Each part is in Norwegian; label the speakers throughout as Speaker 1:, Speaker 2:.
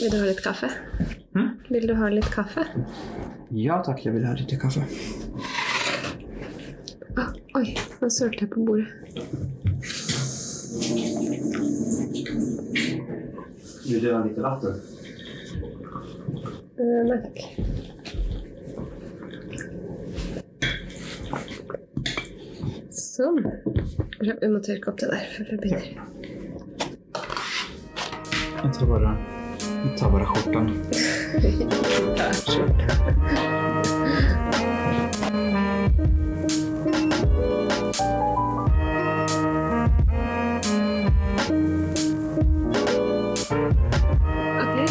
Speaker 1: Vil du ha litt kaffe?
Speaker 2: Hm?
Speaker 1: Vil du ha litt kaffe?
Speaker 2: Ja takk, jeg vil ha litt kaffe.
Speaker 1: Ah, oi, nå sølte jeg på bordet.
Speaker 2: Vil du ha litt latte?
Speaker 1: Eh, nei takk. Sånn. Kanskje Vi må tørke opp det der før vi begynner.
Speaker 2: Jeg tar bare, jeg tar bare skjorten.
Speaker 1: Ok.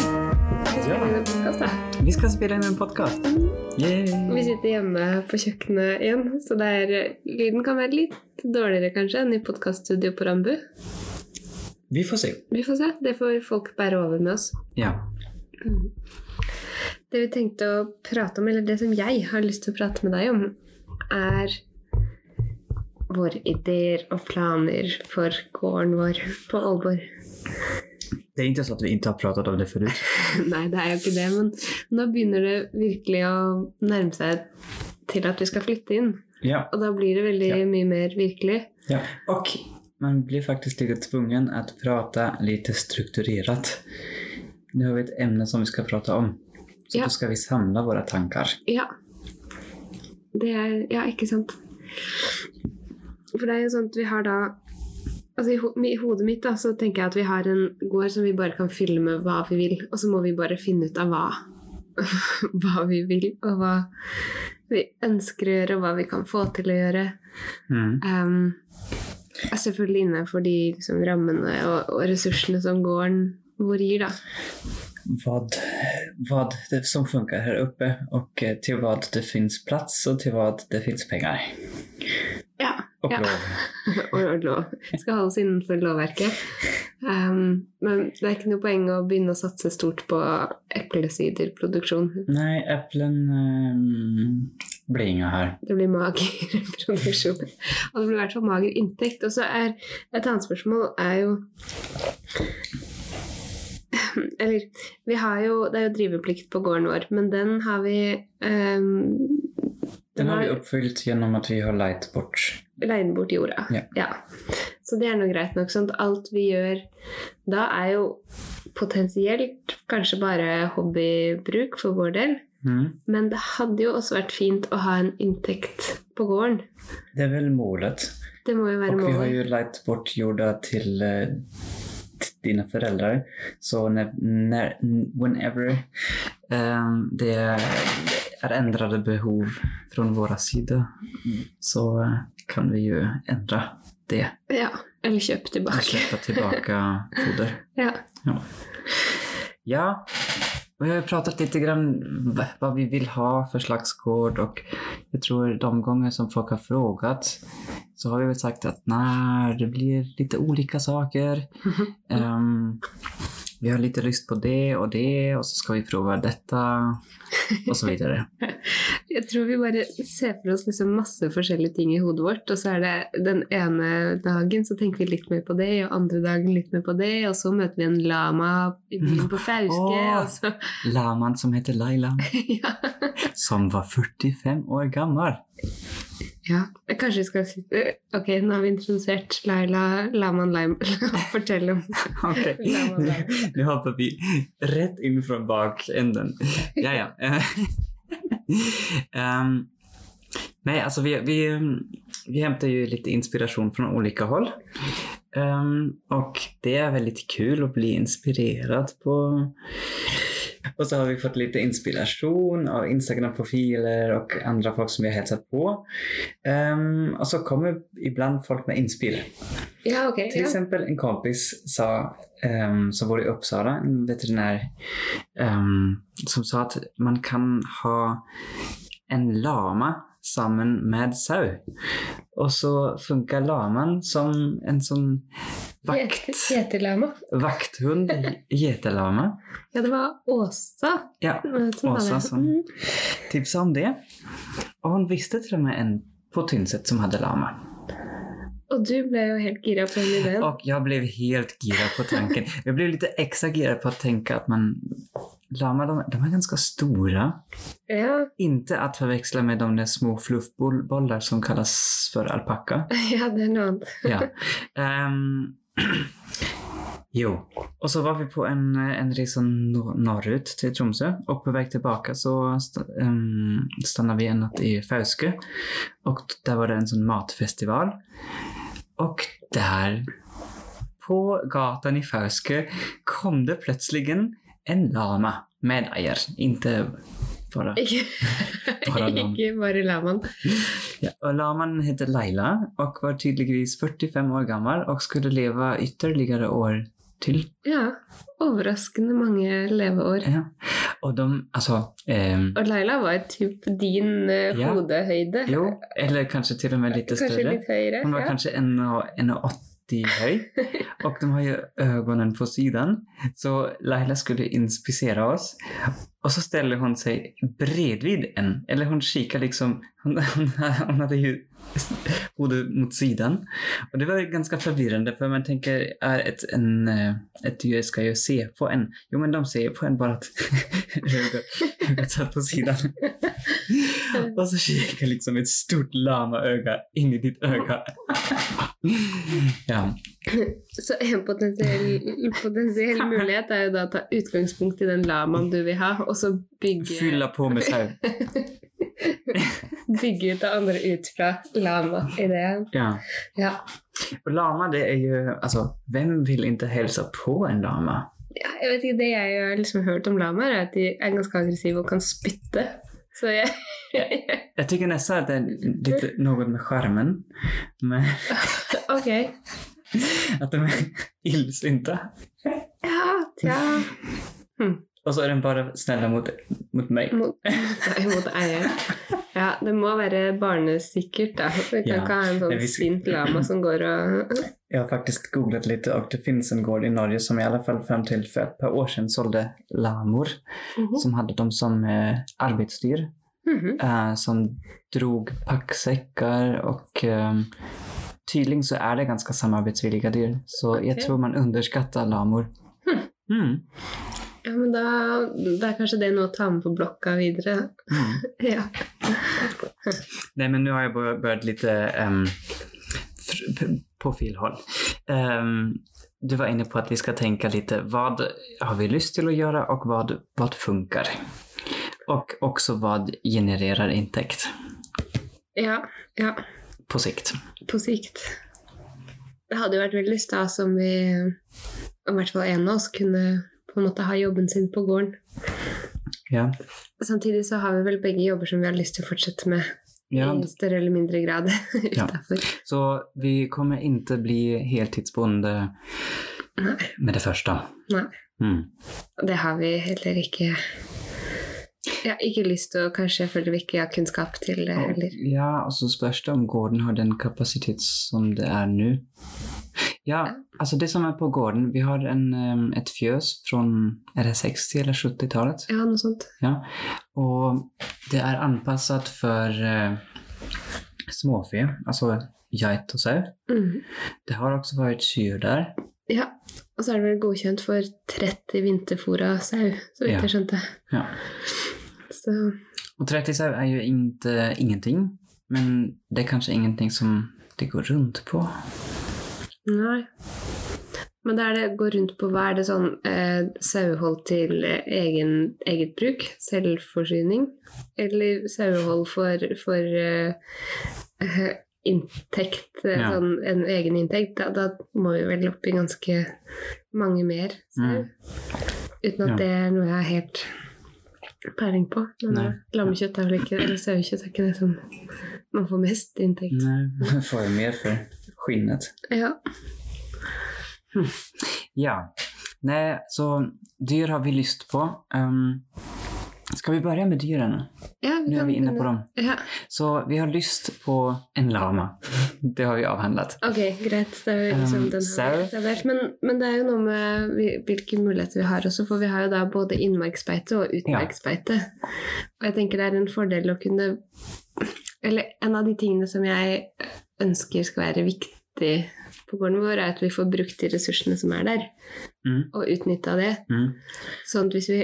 Speaker 1: Vi spiller inn en podcast, da.
Speaker 2: Vi skal spille inn en podkast.
Speaker 1: Vi sitter hjemme på kjøkkenet igjen, så det er, lyden kan være litt dårligere kanskje enn i podkaststudio på Rambu.
Speaker 2: Vi får se.
Speaker 1: Vi får se. Det får folk bære over med oss.
Speaker 2: Ja.
Speaker 1: Det vi tenkte å prate om, eller det som jeg har lyst til å prate med deg om, er våre ideer og planer for gården vår på Aalborg.
Speaker 2: Det er interessant at vi ikke har pratet om det forut.
Speaker 1: Nei, det er jo ikke det, men nå begynner det virkelig å nærme seg til at vi skal flytte inn.
Speaker 2: Ja.
Speaker 1: Og da blir det veldig
Speaker 2: Ja.
Speaker 1: mye mer virkelig.
Speaker 2: ja. Og man blir faktisk litt tvungen å prate litt strukturert. Nu har vi et emne som vi skal prate om. Så
Speaker 1: Ja.
Speaker 2: da skal vi samle våre tanker.
Speaker 1: Ja. Det er Ja, ikke sant. For det er jo sånn at vi har da Altså i, ho I hodet mitt da, så tenker jeg at vi har en gård som vi bare kan fylle med hva vi vil, og så må vi bare finne ut av hva, hva vi vil, og hva vi ønsker å gjøre, og hva vi kan få til å gjøre.
Speaker 2: Mm.
Speaker 1: Ehm, selvfølgelig innenfor de liksom, rammene og, og ressursene som gården vår gir, da.
Speaker 2: vad, vad det som funkar här uppe och eh, till vad det finns plats och till vad det finns pengar.
Speaker 1: Ja.
Speaker 2: Och
Speaker 1: Ja.
Speaker 2: lov.
Speaker 1: og, og lov. Skal holdes innenfor lovverket. Ehm, men det er ikke noe poeng å begynne å satse stort på eplesiderproduksjon.
Speaker 2: Nej, äpplen ehm, blir inga här.
Speaker 1: Det blir mager produksjon. Og det blir i hvert fall mager inntekt. Og så er et annet spørsmål er jo Eller vi har jo Det er jo driveplikt på gården vår, men den har vi ehm,
Speaker 2: Den har vi
Speaker 1: har-
Speaker 2: uppfyllt genom att vi har lejt bort.
Speaker 1: leid bort jorda.
Speaker 2: Ja.
Speaker 1: Så det er nå greit nok. Sant? Alt vi gjør da, er jo potensielt kanskje bare hobbybruk for vår del.
Speaker 2: Mm.
Speaker 1: Men det hadde jo også vært fint å ha en inntekt på gården.
Speaker 2: Det är väl målet.
Speaker 1: Det må jo være
Speaker 2: Och vi har
Speaker 1: målet.
Speaker 2: ju lejt bort jorda till, eh, till dina föräldrar. Så när, när, whenever ehm, det är är ändrade behov från våra sida så eh, kan vi ju ändra det.
Speaker 1: Ja. Eller kjøp
Speaker 2: och
Speaker 1: tilbake.
Speaker 2: köpa tillbaka foder.
Speaker 1: Ja.
Speaker 2: Ja, och jag har pratat lite grann v- vad vi vill ha för slags gård och jag tror de gånger som folk har frågat så har vi väl sagt att nej, det blir lite olika saker. Ehm, vi har lite lust på det och det och så ska vi prova detta och så vidare.
Speaker 1: Jeg tror vi bare ser for oss liksom masse forskjellige ting i hodet vårt, og så er det den ene dagen så tenker vi litt mer på det, og andre dagen litt mer på det, og så møter vi en lama i byen på Fauske,
Speaker 2: Mm. Åh.
Speaker 1: og så
Speaker 2: Laman som heter Laila
Speaker 1: ja.
Speaker 2: som var 45 år gammal.
Speaker 1: Ja, kanskje vi skal si eh, Ok, nå har vi introdusert Laila Laman Laim. Fortell om
Speaker 2: Okej.
Speaker 1: Laman Laim.
Speaker 2: Nu hoppar vi rätt in från bakänden. Ja, ja. Ehm, nej, alltså vi, vi, ehm, vi hämtar ju lite inspiration från olika håll. Ehm, och det är väldigt kul att bli inspirerad på. Och så har vi fått lite inspiration av Instagram-profiler och andra folk som vi har hälsat på. Ehm, och så kommer ibland folk med inspel.
Speaker 1: Ja, ok.
Speaker 2: Till
Speaker 1: Ja.
Speaker 2: exempel en kompis sa, ehm, som bor i Uppsala, en veterinär, ehm, som sa att man kan ha en lama sammen med sau. Och så funkar laman som en sån vakt,
Speaker 1: Gjetelama.
Speaker 2: vakthund, getelama.
Speaker 1: Ja, det var Åsa.
Speaker 2: Ja,
Speaker 1: eh, som var
Speaker 2: Åsa
Speaker 1: der.
Speaker 2: som-
Speaker 1: Mm.
Speaker 2: tipsa om det. Och hon visste till och med en på Tynset som hade lama.
Speaker 1: Och du blev ju helt gira på den idén.
Speaker 2: Och jag blev helt girad på tanken. Jag blev lite extra girad på att tänka att man... Lama, de, de är ganska stora.
Speaker 1: Ja,
Speaker 2: Inte att förväxla med de där små fluffbollar som kallas för alpacka.
Speaker 1: ja, det är något annat.
Speaker 2: Ja. Ehm, jo, och så var vi på en, en resa nor- norrut till Tromsö och på väg tillbaka så st ehm, stannade vi en natt i Fauske och där var det en sån matfestival. Och där på gatan i Fauske kom det plötsligen en lama med eier. Inte bara
Speaker 1: Ikke,
Speaker 2: Bara lam.
Speaker 1: ikke bare laman.
Speaker 2: Ja, och laman hette Laila och var tydligtvis 45 år gammal och skulle leva ytterligare år till.
Speaker 1: Ja, overraskende mange leveår.
Speaker 2: Ja. Och de, alltså, ehm,
Speaker 1: Og Laila var typ din eh,
Speaker 2: Ja.
Speaker 1: hodehøyde.
Speaker 2: jo, eller kanske till och med lite
Speaker 1: Kanskje
Speaker 2: större.
Speaker 1: litt høyere.
Speaker 2: Hon var
Speaker 1: ja.
Speaker 2: kanske en och- en och 80 hög och de har ju ögonen på sidan. Så Laila skulle inspicera oss och så ställer hon sig bredvid en. Eller hon kikar liksom, hon, hon, hon hade ju hodet mot sidan. Och det var ju ganska förvirrande för man tänker, är ett, en, eh, ett djur ska ju se på en. Jo men de ser på en bara att ögat- ögat satt på sidan. Och så kikar liksom ett stort lamaöga in i ditt öga. Ja,
Speaker 1: Så en potensiell, potensiell mulighet er jo da å ta utgangspunkt i den lamaen du vil ha, og så bygge,
Speaker 2: fylla på med sau.
Speaker 1: bygge ut det andre ut fra lama-ideen.
Speaker 2: Ja.
Speaker 1: Ja.
Speaker 2: Och lama det altså, är ju, alltså vem vill inte hälsa på en lama?
Speaker 1: ja, jeg vet ikke, Det jeg har liksom hørt om lamaer, er at de er ganske aggressive og kan spytte. Så jeg
Speaker 2: Jag tycker nästan att det är lite något med charmen. Men
Speaker 1: Ok.
Speaker 2: att de är illsynta.
Speaker 1: Ja, tja.
Speaker 2: Och så är den bara snälla mot, mot mig.
Speaker 1: Mot, mot eier. Ja, det må være barnesikkert, da. Vi kan
Speaker 2: Ja.
Speaker 1: ikke ha en
Speaker 2: Nei,
Speaker 1: sånn
Speaker 2: hvis vi-
Speaker 1: sint lama som går og
Speaker 2: Jag har faktiskt googlat lite och det finns en gård i Norge som i alla fall fram till för ett par år sedan sålde lamor.
Speaker 1: Oh.
Speaker 2: Som hade dem som eh, arbetsdyr.
Speaker 1: Mhm.
Speaker 2: eh, som drog packsäckar och eh, tydligen så är det ganska samarbetsvilliga dyr. Så jag
Speaker 1: Okej.
Speaker 2: tror man underskattar lamor. Mm.
Speaker 1: Ja, men da, da er kanskje det noe å ta med på blokka videre.
Speaker 2: Mm.
Speaker 1: Ja.
Speaker 2: Nej, men nu har jag bör- börjat lite ehm, fr- p- på fel håll. Ehm, du var inne på att vi ska tänka lite, vad har vi lust till att göra och vad, vad funkar? Och också vad genererar intäkt
Speaker 1: ja. Ja.
Speaker 2: på sikt?
Speaker 1: På sikt. Det hadde jo vært veldig stas om vi, om i hvert fall en av oss, kunne på en måte ha jobben sin på gården.
Speaker 2: Ja,
Speaker 1: Samtidig så har vi vel begge jobber som vi har lyst til å fortsette med
Speaker 2: ja
Speaker 1: i større eller mindre grad utafor.
Speaker 2: så vi kommer inte bli heltidsbonde
Speaker 1: Nej.
Speaker 2: med det första.
Speaker 1: Nej.
Speaker 2: Mm.
Speaker 1: Og Det har vi heller ikke Jeg har ikke lyst til å Kanskje jeg føler vi ikke har kunnskap til det
Speaker 2: Och-
Speaker 1: heller.
Speaker 2: Ja, och så spörs det om gården har den kapacitet som det är nu. Ja, alltså det som är på gården, vi har en, em, ett fjös från, är det 60 eller 70-talet?
Speaker 1: Ja, noe sånt.
Speaker 2: Ja. Och det är anpassat för eh, småfe, alltså geit och sau.
Speaker 1: Mhm.
Speaker 2: Det har också varit kyr där.
Speaker 1: Ja. Og så er det vel godkjent for 30 vinterfôra sau, så vidt
Speaker 2: Ja.
Speaker 1: jeg skjønte.
Speaker 2: Ja.
Speaker 1: Så
Speaker 2: Och 30 sau är ju inte ingenting, men det är kanskje ingenting som det går runt på.
Speaker 1: Nei. Men da er det gå rundt på hva er det sånn eh, sauehold til eh, egen, eget bruk? Selvforsyning? Eller sauehold for, for eh, eh, inntekt? eh,
Speaker 2: Ja.
Speaker 1: Sånn en egen inntekt? Da, da må vi vel opp i ganske mange mer sau.
Speaker 2: Mm.
Speaker 1: Uten at
Speaker 2: Ja.
Speaker 1: det er noe jeg har helt peiling på. Men
Speaker 2: Nei.
Speaker 1: eh, lammekjøtt er vel ikke, eller sauekjøtt er ikke det som man får mest inntekt.
Speaker 2: Nej, man får ju mer för skinnet.
Speaker 1: Ja.
Speaker 2: Ja. Nej, så dyr har vi lyst på. Um, ska vi börja med dyren?
Speaker 1: ja
Speaker 2: Nu är
Speaker 1: kan
Speaker 2: vi inne
Speaker 1: begynne.
Speaker 2: på dem.
Speaker 1: Ja.
Speaker 2: Så vi har lyst på en lama. Det har vi avhandlat.
Speaker 1: Ok, greit. Det er jo liksom
Speaker 2: Um,
Speaker 1: den har vi
Speaker 2: Sarah?
Speaker 1: etablert. Men, men det er jo noe med vi- hvilke muligheter vi har også, for vi har jo da både innmarksbeite og utmarksbeite. Og jeg tenker det er en fordel å kunne Eller en av de tingene som jeg ønsker skal være viktig viktig på gården vår, er at vi får brukt de ressursene som er der,
Speaker 2: Mm.
Speaker 1: og utnytta det.
Speaker 2: Mm.
Speaker 1: Sånn at hvis vi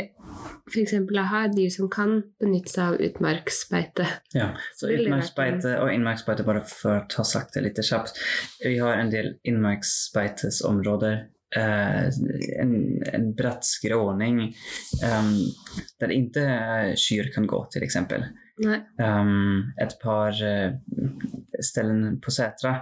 Speaker 1: f.eks. har dyr som kan benytte seg av utmarksbeite
Speaker 2: Ja, så
Speaker 1: Det ville vært
Speaker 2: utmarksbeite og innmarksbeite, bare for å ta sagt det litt kjapt. Vi har en del innmarksbeitesområder. eh, en, en bratt skråning ehm, der ikke kyr kan gå, til eksempel.
Speaker 1: Nei.
Speaker 2: Ehm, et par uh, ställen på Sätra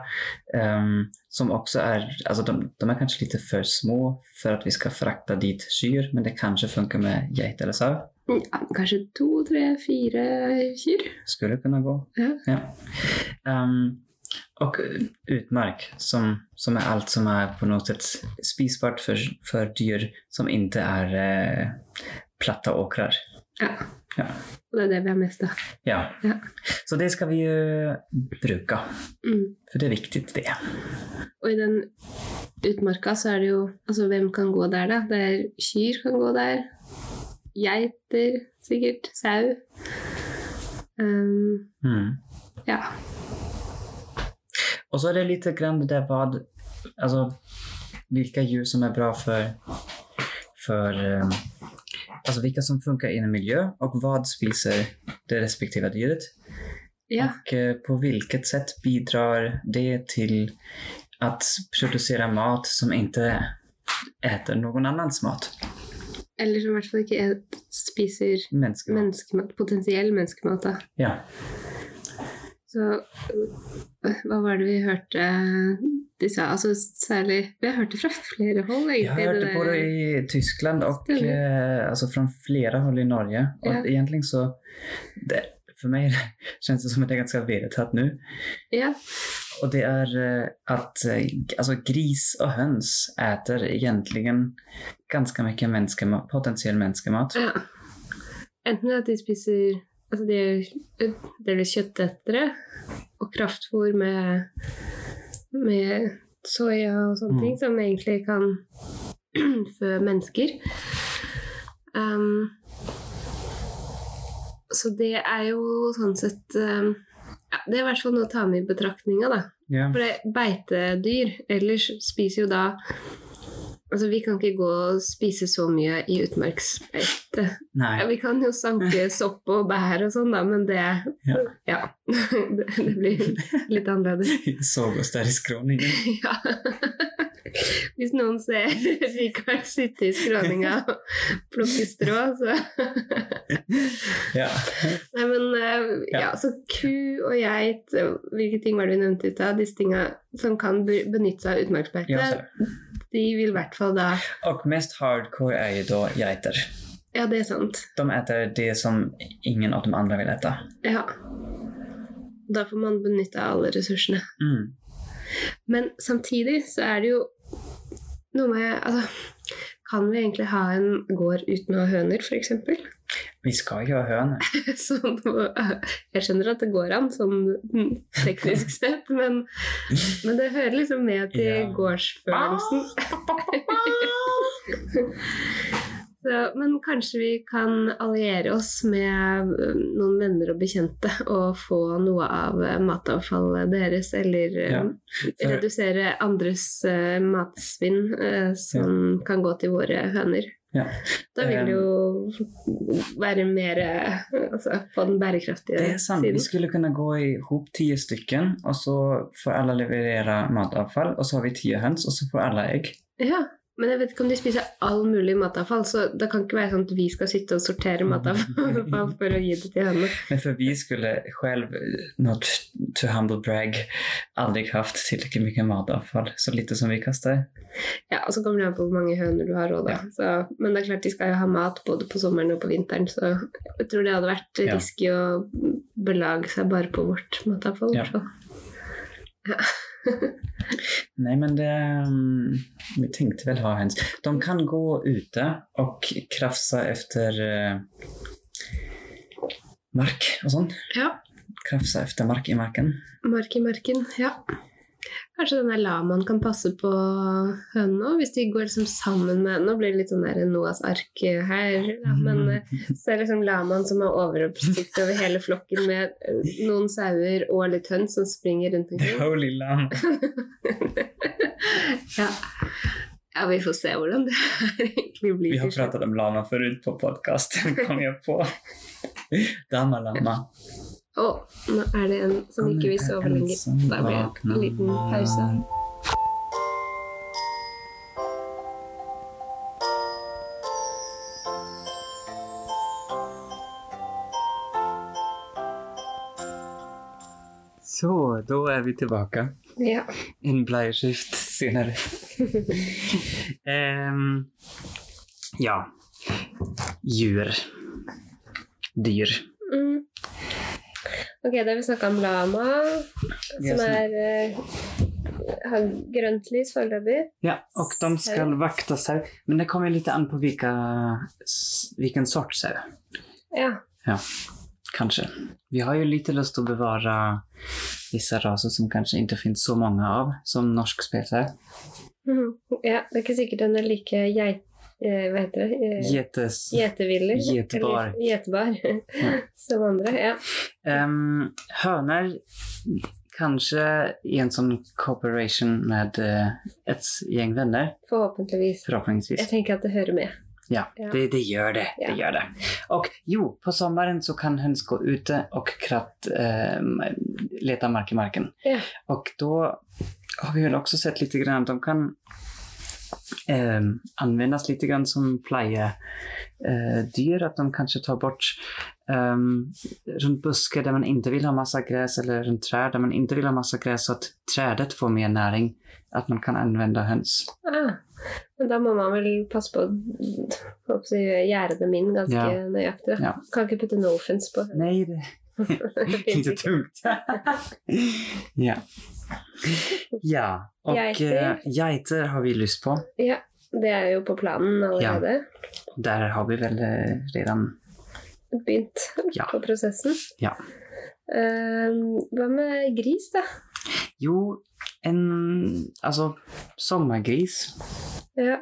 Speaker 2: ehm, som också är, alltså de, de är kanske lite för små för att vi ska frakta dit kyr, men det kanske funkar med geit eller sau.
Speaker 1: Ja, kanskje to, tre, fire kyr.
Speaker 2: Skulle kunna gå.
Speaker 1: Ja.
Speaker 2: Ehm, och utmark som, som är allt som är på något sätt spisbart för, för dyr som inte är eh, platta åkrar.
Speaker 1: Ja.
Speaker 2: Ja.
Speaker 1: Og det er det vi har mest av.
Speaker 2: Ja.
Speaker 1: Ja.
Speaker 2: Så det ska vi ju bruka,
Speaker 1: Mm.
Speaker 2: för det är viktigt det.
Speaker 1: Og i den utmarka så er det jo Altså, hvem kan gå der, da? Det er kyr kan gå der. Geiter, sikkert. Sau. Ehm,
Speaker 2: Mm.
Speaker 1: ja.
Speaker 2: Och så är det lite grann det där vad, alltså vilka djur altså, som är bra för, för eh, alltså vilka som funkar i en miljö och vad spiser det respektive djuret.
Speaker 1: ja.
Speaker 2: Och eh, på vilket sätt bidrar det till att producera mat som inte äter någon annans mat?
Speaker 1: Eller som i hvert fall ikke er, spiser
Speaker 2: Mänsklig mat.
Speaker 1: menneskemat, potensiell menneskemat, da.
Speaker 2: Ja.
Speaker 1: Så øh, hva var det vi hørte de sa? Altså særlig Vi har hørt det fra flere hold, egentlig.
Speaker 2: Jag har hört det både
Speaker 1: der-
Speaker 2: i Tyskland och
Speaker 1: Stämmer.
Speaker 2: eh, alltså från flera håll i Norge. Och
Speaker 1: Ja.
Speaker 2: egentligen så, det, för mig känns det som att det är ganska vedertatt nu.
Speaker 1: Ja.
Speaker 2: Och det är eh, att eh, alltså gris och höns äter egentligen ganska mycket mänskema- potentiell människomat.
Speaker 1: ja. Enten at de spiser Altså de er delvis kjøttetere og kraftfôr med, med soya og sånne
Speaker 2: Mm.
Speaker 1: ting som egentlig kan fø mennesker. Ehm, så det er jo sånn sett ehm, ja, Det er i hvert fall noe å ta med i betraktninga, da.
Speaker 2: Ja.
Speaker 1: For det er beitedyr ellers spiser jo da Altså, vi kan ikke gå og spise så mye i utmarksbeite. Ja,
Speaker 2: Nej.
Speaker 1: vi kan jo sanke sopp og bær og sånn, da, men det
Speaker 2: Ja.
Speaker 1: ja. Det, det blir litt annerledes.
Speaker 2: Jag såg oss där i skråningen.
Speaker 1: Ja. Hvis noen ser Rikard sitte i skråninga og plukke strå, så
Speaker 2: Ja.
Speaker 1: Nei, men eh,
Speaker 2: Ja.
Speaker 1: ja. så ku og geit, eh, hvilke ting var det vi nevnte i stad? Disse tinga som kan be- benytte seg av utmarksbeite,
Speaker 2: Ja, så.
Speaker 1: de vil i hvert fall da
Speaker 2: Och mest hardcore är ju då geiter.
Speaker 1: Ja, det er sant.
Speaker 2: De äter det som ingen av de andra vill äta.
Speaker 1: Ja. Da får man benytte alle ressursene.
Speaker 2: Mm.
Speaker 1: Men samtidig så er det jo noe med Altså, kan vi egentlig ha en gård uten å ha høner, f.eks.?
Speaker 2: Vi ska ju ha hönor.
Speaker 1: Sånn, jeg skjønner at det går an, sånn mm, teknisk sett, men, men det hører liksom med til
Speaker 2: Ja.
Speaker 1: gårdsfølelsen. Så, men kanskje vi kan alliere oss med eh, noen venner og bekjente og få noe av eh, matavfallet deres, eller eh,
Speaker 2: Ja, for-
Speaker 1: redusere andres eh, matsvinn eh, som kan gå til våre høner.
Speaker 2: Ja.
Speaker 1: Da vil det jo være mer eh, altså, på den bærekraftige
Speaker 2: Det är sant. Vi
Speaker 1: siden.
Speaker 2: skulle kunna gå ihop tio stycken och så får alla leverera matavfall och så har vi tio höns och så får alla ägg.
Speaker 1: Ja, men jeg vet ikke om de spiser all mulig matavfall, så det kan ikke være sånn at vi skal sitte og sortere matavfall for å gi det til henne.
Speaker 2: Men för vi skulle själv, eh, not to humble brag, aldrig haft tillräckligt mycket matavfall. Så lite som vi kastar.
Speaker 1: Ja, og så kommer det an på hvor mange høner du har òg, da. Så, men det er klart de skal jo ha mat både på sommeren og på vinteren, så jeg tror det hadde vært
Speaker 2: Ja.
Speaker 1: risky å belage seg bare på vårt matavfall. i
Speaker 2: Ja.
Speaker 1: hvert fall.
Speaker 2: Nej, men det... mm, Vi tänkte väl ha höns. De kan gå ute och krafsa efter eh, mark och sånt.
Speaker 1: Ja.
Speaker 2: Krafsa efter mark i marken.
Speaker 1: Mark i marken, ja. Kanskje denne lamaen kan passe på høna hvis de går liksom sammen med Nå blir det litt sånn der Noas ark eh, her, da. men eh, så er det liksom lamaen som har overoppsikt over hele flokken med eh, noen sauer og litt høns som springer rundt omkring.
Speaker 2: Holy lamb.
Speaker 1: Ja. ja, vi får se hvordan det her egentlig blir.
Speaker 2: Vi har
Speaker 1: til slutt.
Speaker 2: pratet om lama förut på podcasten, kom jag på. Damma lama.
Speaker 1: Å, nå er det en som ikke vil sove lenger.
Speaker 2: liksom
Speaker 1: Da blir det en liten pause.
Speaker 2: Så, då är vi tillbaka.
Speaker 1: Ja.
Speaker 2: En bleieskift senare. Ehm, ja. Djur. Dyr.
Speaker 1: Mm. Ok, da har vi snakka om lama,
Speaker 2: Vi har
Speaker 1: som er eh, har grønt lys foreløpig.
Speaker 2: Ja, och de ska
Speaker 1: Sau.
Speaker 2: vakta sau. Men det kommer lite an på vilka, s- vilken sorts sau.
Speaker 1: Ja.
Speaker 2: Kanske. Vi har ju lite lust att bevara vissa raser som kanske inte finns så många av, som norsk spetsau.
Speaker 1: Mhm. ja. Det er ikke sikkert den er like geit... eh, Hva heter det? Eh,
Speaker 2: Getes.
Speaker 1: Gjetevillig.
Speaker 2: Gjetebar.
Speaker 1: eller Gjetebar.
Speaker 2: Ja.
Speaker 1: som andre. Ja.
Speaker 2: Um, hönor kanske i en sånn cooperation med eh, ett gäng vänner,
Speaker 1: Forhåpentligvis.
Speaker 2: förhoppningsvis.
Speaker 1: Jeg tenker at det hører med.
Speaker 2: Ja,
Speaker 1: Ja.
Speaker 2: Det, det gör det.
Speaker 1: Ja.
Speaker 2: Det gör det. Och jo, på sommaren så kan höns gå ute och kratt, ehm, leta mark i marken.
Speaker 1: Ja.
Speaker 2: Och då har vi väl också sett lite grann att de kan ehm, användas lite grann som plejedyr. Eh, dyr, att de kanske tar bort ehm, runt buskar där man inte vill ha massa gräs eller runt träd där man inte vill ha massa gräs så att trädet får mer näring. Att man kan använda höns.
Speaker 1: Ah. Men da må man vel passe på å håper jeg, gjøre gjerde dem inn ganske
Speaker 2: Ja.
Speaker 1: nøyaktig. da.
Speaker 2: Ja.
Speaker 1: Kan ikke putte no offence på.
Speaker 2: Nej, det,
Speaker 1: Det finnes
Speaker 2: Inte
Speaker 1: ikke.
Speaker 2: tungt. ja. Ja, och
Speaker 1: Geiter.
Speaker 2: eh, geiter har vi lyst på.
Speaker 1: Ja, det er jo på planen allerede.
Speaker 2: Där har vi väl eh, redan...
Speaker 1: Begynt
Speaker 2: Ja.
Speaker 1: på prosessen.
Speaker 2: Ja.
Speaker 1: Ehm, hva med gris, da?
Speaker 2: Jo, en alltså, sommargris.
Speaker 1: Ja.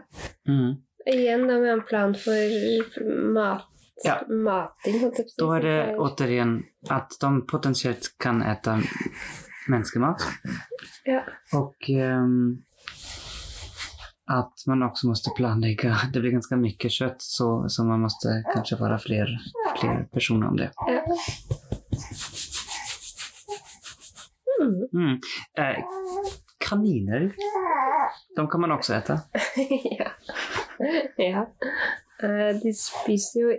Speaker 2: Mm.
Speaker 1: Igjen da med en plan for mat,
Speaker 2: Ja. eh,
Speaker 1: mating. holdt jeg på å si,
Speaker 2: Då är
Speaker 1: som
Speaker 2: det
Speaker 1: pleier.
Speaker 2: återigen att de potentiellt kan äta människomat.
Speaker 1: Ja.
Speaker 2: Och ehm, att man också måste planlägga. Det blir ganska mycket kött så, så man måste kanske vara fler, fler personer om det.
Speaker 1: Ja. Mm.
Speaker 2: Mm. Eh, kaniner, de kan man också äta.
Speaker 1: ja. ja. Eh, de spiser jo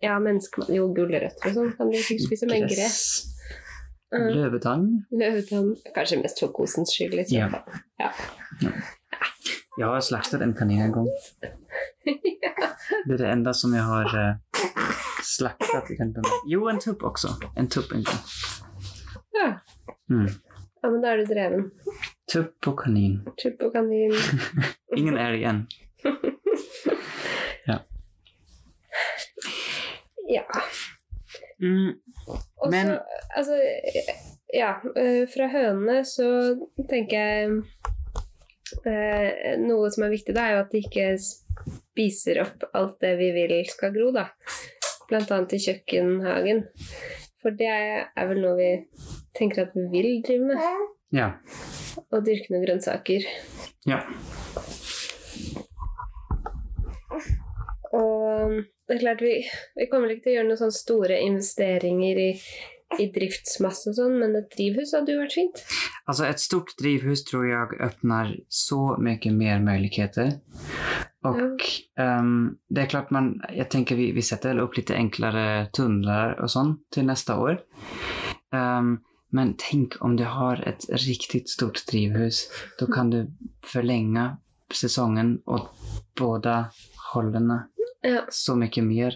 Speaker 1: ja, menneskemat Jo, gulrøtter og sånn kan de sikkert spise, men gress
Speaker 2: Gress.
Speaker 1: Mm.
Speaker 2: Lövtang.
Speaker 1: Løvetann Kanskje mest for kosens skyld, liksom.
Speaker 2: Ja.
Speaker 1: Ja.
Speaker 2: Jag har slaktat en kanin en gång. Det är det enda som jag har eh, slaktat. i den bemär- Jo, en tupp också. En tupp en gång.
Speaker 1: Ja.
Speaker 2: Mm.
Speaker 1: ja, men da er du dreven.
Speaker 2: Tupp og kanin.
Speaker 1: Tupp og kanin.
Speaker 2: Ingen älg än.
Speaker 1: Ja.
Speaker 2: Mm.
Speaker 1: Og
Speaker 2: Men-
Speaker 1: så, altså Ja, eh, fra hønene så tenker jeg eh, Noe som er viktig, da, er jo at de ikke spiser opp alt det vi vil skal gro, da. Blant annet i kjøkkenhagen. For det er vel noe vi tenker at vi vil drive med.
Speaker 2: Ja.
Speaker 1: Å dyrke noen grønnsaker.
Speaker 2: ja.
Speaker 1: Og det er klart vi, vi kommer ikke til å gjøre noen sånne store investeringer i, i driftsmasse og sånn, men et drivhus hadde jo vært fint.
Speaker 2: Alltså ett stort drivhus tror jag öppnar så mycket mer möjligheter. Och ehm, det är klart man, jag tänker vi, vi sätter väl upp lite enklare tunnlar och sånt till nästa år. Ehm, men tänk om du har ett riktigt stort drivhus, då kan du förlänga säsongen åt båda hållen
Speaker 1: Ja.
Speaker 2: så mycket mer.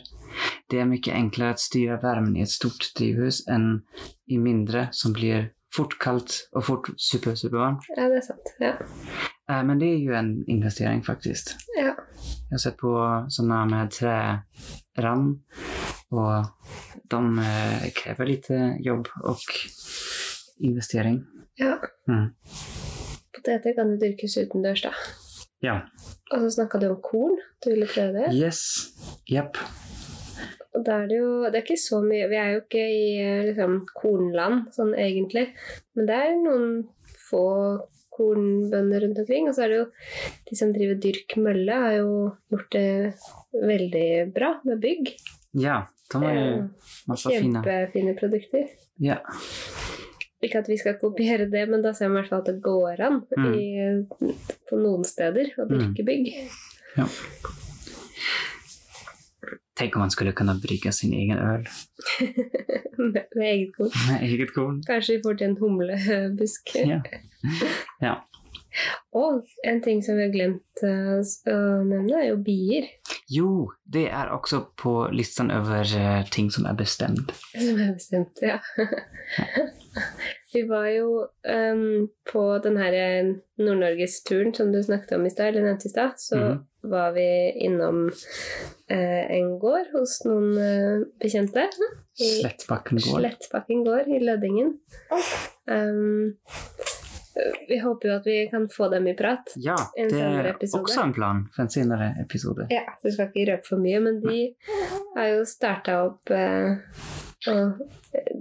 Speaker 2: Det är mycket enklare att styra värmen i ett stort drivhus än i mindre som blir fort kallt och fort super, super varmt.
Speaker 1: Ja, det er sant. Ja.
Speaker 2: Eh, Men det är ju en investering faktiskt.
Speaker 1: ja.
Speaker 2: Jag har sett på sådana med träram och de eh, kräver lite jobb och eh, investering.
Speaker 1: Ja.
Speaker 2: Mm.
Speaker 1: Poteter kan jo dyrkes utendørs, da.
Speaker 2: Ja.
Speaker 1: Og så snakka du om korn. Du ville prøve det.
Speaker 2: Yes. Jepp.
Speaker 1: Og da er det jo Det er ikke så mye Vi er jo ikke i eh, liksom, kornland sånn egentlig, men det er noen få kornbønder rundt omkring. Og så er det jo de som driver Dyrk mølle, har jo gjort det veldig bra med bygg.
Speaker 2: Ja. De har
Speaker 1: Eh,
Speaker 2: ju massa fina...
Speaker 1: Kjempefine produkter.
Speaker 2: Ja.
Speaker 1: Ikke at vi skal kopiere det, men da ser man i hvert fall at det går an
Speaker 2: Mm.
Speaker 1: i, på noen steder å dyrke bygg.
Speaker 2: Tänk om man skulle kunna brygga sin egen öl
Speaker 1: med, med eget korn.
Speaker 2: med eget korn.
Speaker 1: Kanskje vi får til en humlebusk.
Speaker 2: Ja. Ja.
Speaker 1: Og en ting som vi har glemt eh, s- å nevne, er jo bier.
Speaker 2: Jo, det är också på listan över eh, ting som är bestämd.
Speaker 1: Som jeg bestemte, ja. vi var jo em, på den her eh, Nord-Norges-turen som du snakket om i stad, eller nevnte i stad, så
Speaker 2: Mhm.
Speaker 1: var vi innom eh, en gård hos noen eh, bekjente. I-
Speaker 2: Slättbacken går.
Speaker 1: Slettbakken gård i Lødingen. Em, vi håper jo at vi kan få dem i prat.
Speaker 2: Ja,
Speaker 1: En
Speaker 2: det
Speaker 1: senere
Speaker 2: är
Speaker 1: episode.
Speaker 2: också en plan för en senare episode.
Speaker 1: Ja, så vi skal ikke røpe for mye, men de har jo starta opp eh, og,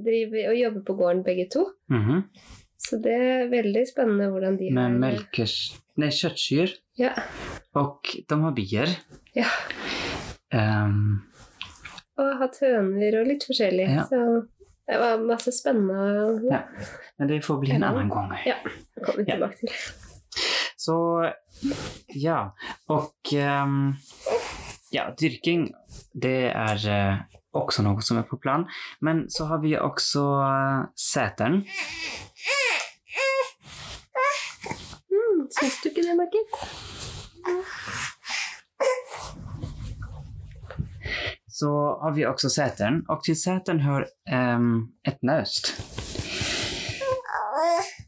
Speaker 1: driver, og jobber på gården begge to.
Speaker 2: Mhm.
Speaker 1: Så det er veldig spennende hvordan de
Speaker 2: Med
Speaker 1: har
Speaker 2: melkers... Nej, köttdjur.
Speaker 1: Ja.
Speaker 2: Och de har bier.
Speaker 1: Ja.
Speaker 2: Ehm,
Speaker 1: Og har hatt høner og litt forskjellig.
Speaker 2: Ja.
Speaker 1: Så det var masse spennende å
Speaker 2: Ja. men det får bli en
Speaker 1: Ja.
Speaker 2: annan gång.
Speaker 1: komme
Speaker 2: Ja.
Speaker 1: tilbake til.
Speaker 2: Så ja, och ehm, ja, dyrking det är eh, också något som är på plan. Men så har vi också eh, sätern.
Speaker 1: Mm, Syns du ikke det, Margit?
Speaker 2: Så har vi också sätern och till sätern hör ehm, ett nöst.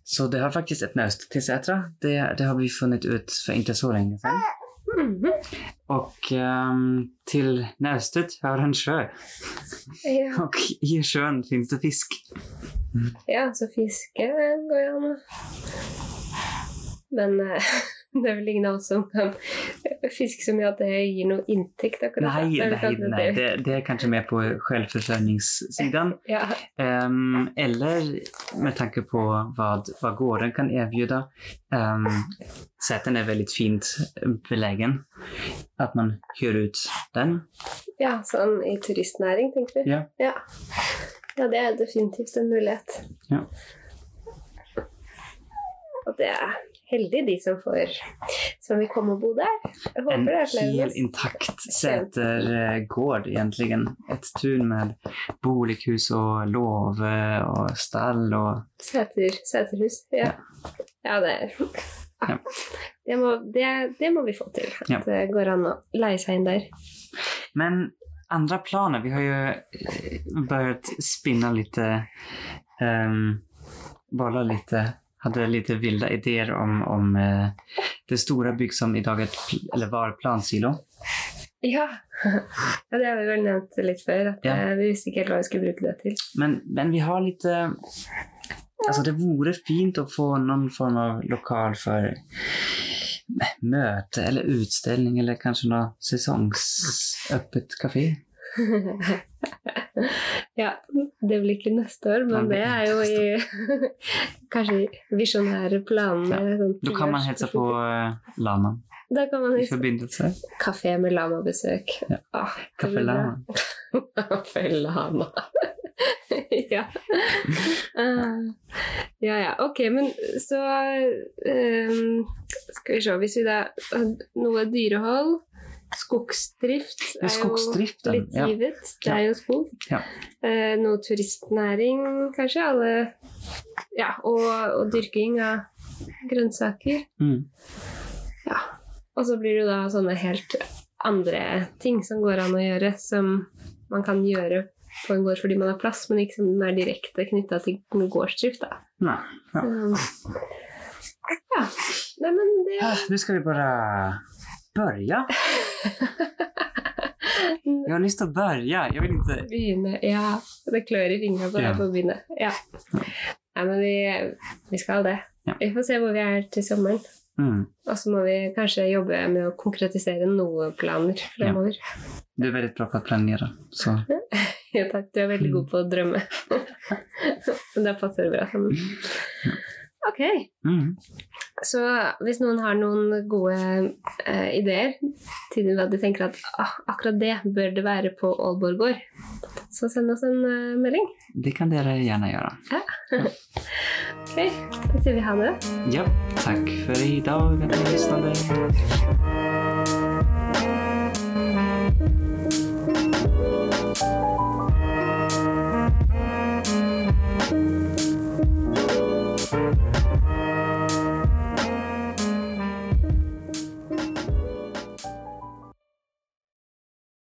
Speaker 2: Så det har faktiskt ett nöst till Sätra. Det, det har vi funnit ut för inte så länge sedan.
Speaker 1: Mhm.
Speaker 2: Och ehm, till nöstet hör en sjö.
Speaker 1: Ja.
Speaker 2: Och i sjön finns det fisk.
Speaker 1: ja, så fiske går jo an å Men eh, det er vel ingen av oss som kan fiske så mye at det gir noe inntekt, akkurat.
Speaker 2: Nej,
Speaker 1: Det er vel
Speaker 2: nej,
Speaker 1: kanskje
Speaker 2: nej.
Speaker 1: det-
Speaker 2: Det, det er kanske mer på självförsörjningssidan.
Speaker 1: Ja.
Speaker 2: Ehm, eller med tanke på vad, vad gården kan erbjuda. Um, säten är väldigt fint belägen. Att man hyr ut den.
Speaker 1: Ja, sånn i turistnæring, tenker du?
Speaker 2: Ja.
Speaker 1: Ja, Ja, det er definitivt en mulighet.
Speaker 2: Ja.
Speaker 1: Og det er heldig de som får som vil komme og bo der. Jeg håper
Speaker 2: En
Speaker 1: det er flere enn
Speaker 2: helt
Speaker 1: oss.
Speaker 2: intakt sätergård egentligen. Ett tun med bolighus och låve och stall och
Speaker 1: Sæter, sæterhus. Ja. ja, det er
Speaker 2: Ja.
Speaker 1: ja. Det, må, det, det må vi få til. At
Speaker 2: Ja.
Speaker 1: det går an å leie seg inn der.
Speaker 2: Men andra planer, vi har ju eh, börjat spinna lite, um, bolla lite, hade lite vilda idéer om, om eh, det stora bygg som idag är, ett pl- eller var plansilo.
Speaker 1: Ja. ja, det har vi vel nevnt litt før. At
Speaker 2: Ja.
Speaker 1: eh, vi visste ikke helt hva vi skulle bruke det til.
Speaker 2: Men, men vi har lite, alltså det vore fint att få någon form av lokal för möte eller utställning eller kanske något säsongsöppet café.
Speaker 1: Ja, det blir ikke neste år, men
Speaker 2: Nei,
Speaker 1: det
Speaker 2: det
Speaker 1: er jo
Speaker 2: blir ikke
Speaker 1: i kanskje visjonære planene. sånn
Speaker 2: Då kan man hälsa på eh, laman
Speaker 1: Da kan man
Speaker 2: i
Speaker 1: hilse
Speaker 2: förbindelse.
Speaker 1: kafé med lamabesøk.
Speaker 2: Ja.
Speaker 1: Ah, det
Speaker 2: Café
Speaker 1: blir bra.
Speaker 2: Laman.
Speaker 1: Kaffe lama. ja. Eh, ja, ja. Ok, men så eh, Skal vi se Hvis vi da Noe dyrehold. Skogsdrift
Speaker 2: Ja, skogsdriften.
Speaker 1: Litt
Speaker 2: Ja.
Speaker 1: givet. Det er jo skog.
Speaker 2: Ja.
Speaker 1: Eh, noe turistnæring, kanskje. Alle Ja, og, og dyrking av grønnsaker.
Speaker 2: Mm.
Speaker 1: Ja. Og så blir det jo da sånne helt andre ting som går an å gjøre, som man kan gjøre på en gård fordi man har plass, men ikke som er direkte knytta til noe gårdsdrift, da.
Speaker 2: Nej. Ja.
Speaker 1: Så, ja. Nei, men det
Speaker 2: Ah, Nu ska vi bara börja. Jag har lust att börja. Jag vill inte...
Speaker 1: Begynne. Ja. Det klør i fingrene bare
Speaker 2: Ja.
Speaker 1: for å begynne. Ja. Nei, men vi, vi skal det.
Speaker 2: Ja.
Speaker 1: Vi får se hvor vi er til sommeren.
Speaker 2: Mm.
Speaker 1: Og så må vi kanskje jobbe med å konkretisere noen planer fremover.
Speaker 2: Du er väldigt bra på att planera. Så.
Speaker 1: Ja. takk. Du er veldig god på å drømme. Men da passer det bra sammen. Ok.
Speaker 2: Mm.
Speaker 1: Så hvis noen har noen gode eh, ideer til hva de tenker at ah, akkurat det bør det være på Aalborg gård, så send oss en eh, melding.
Speaker 2: Det kan ni gärna göra.
Speaker 1: Ok, Da sier vi ha det.
Speaker 2: Ja, tack för idag att ni lyssnade.